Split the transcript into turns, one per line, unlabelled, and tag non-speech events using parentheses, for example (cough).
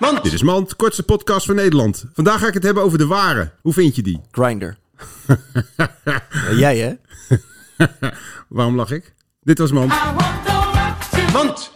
Mand! Dit is Mand, kortste podcast van Nederland. Vandaag ga ik het hebben over de ware. Hoe vind je die? (laughs)
Grinder. jij hè?
Waarom lach ik? Dit was Mand.
I want the rock to
Mand!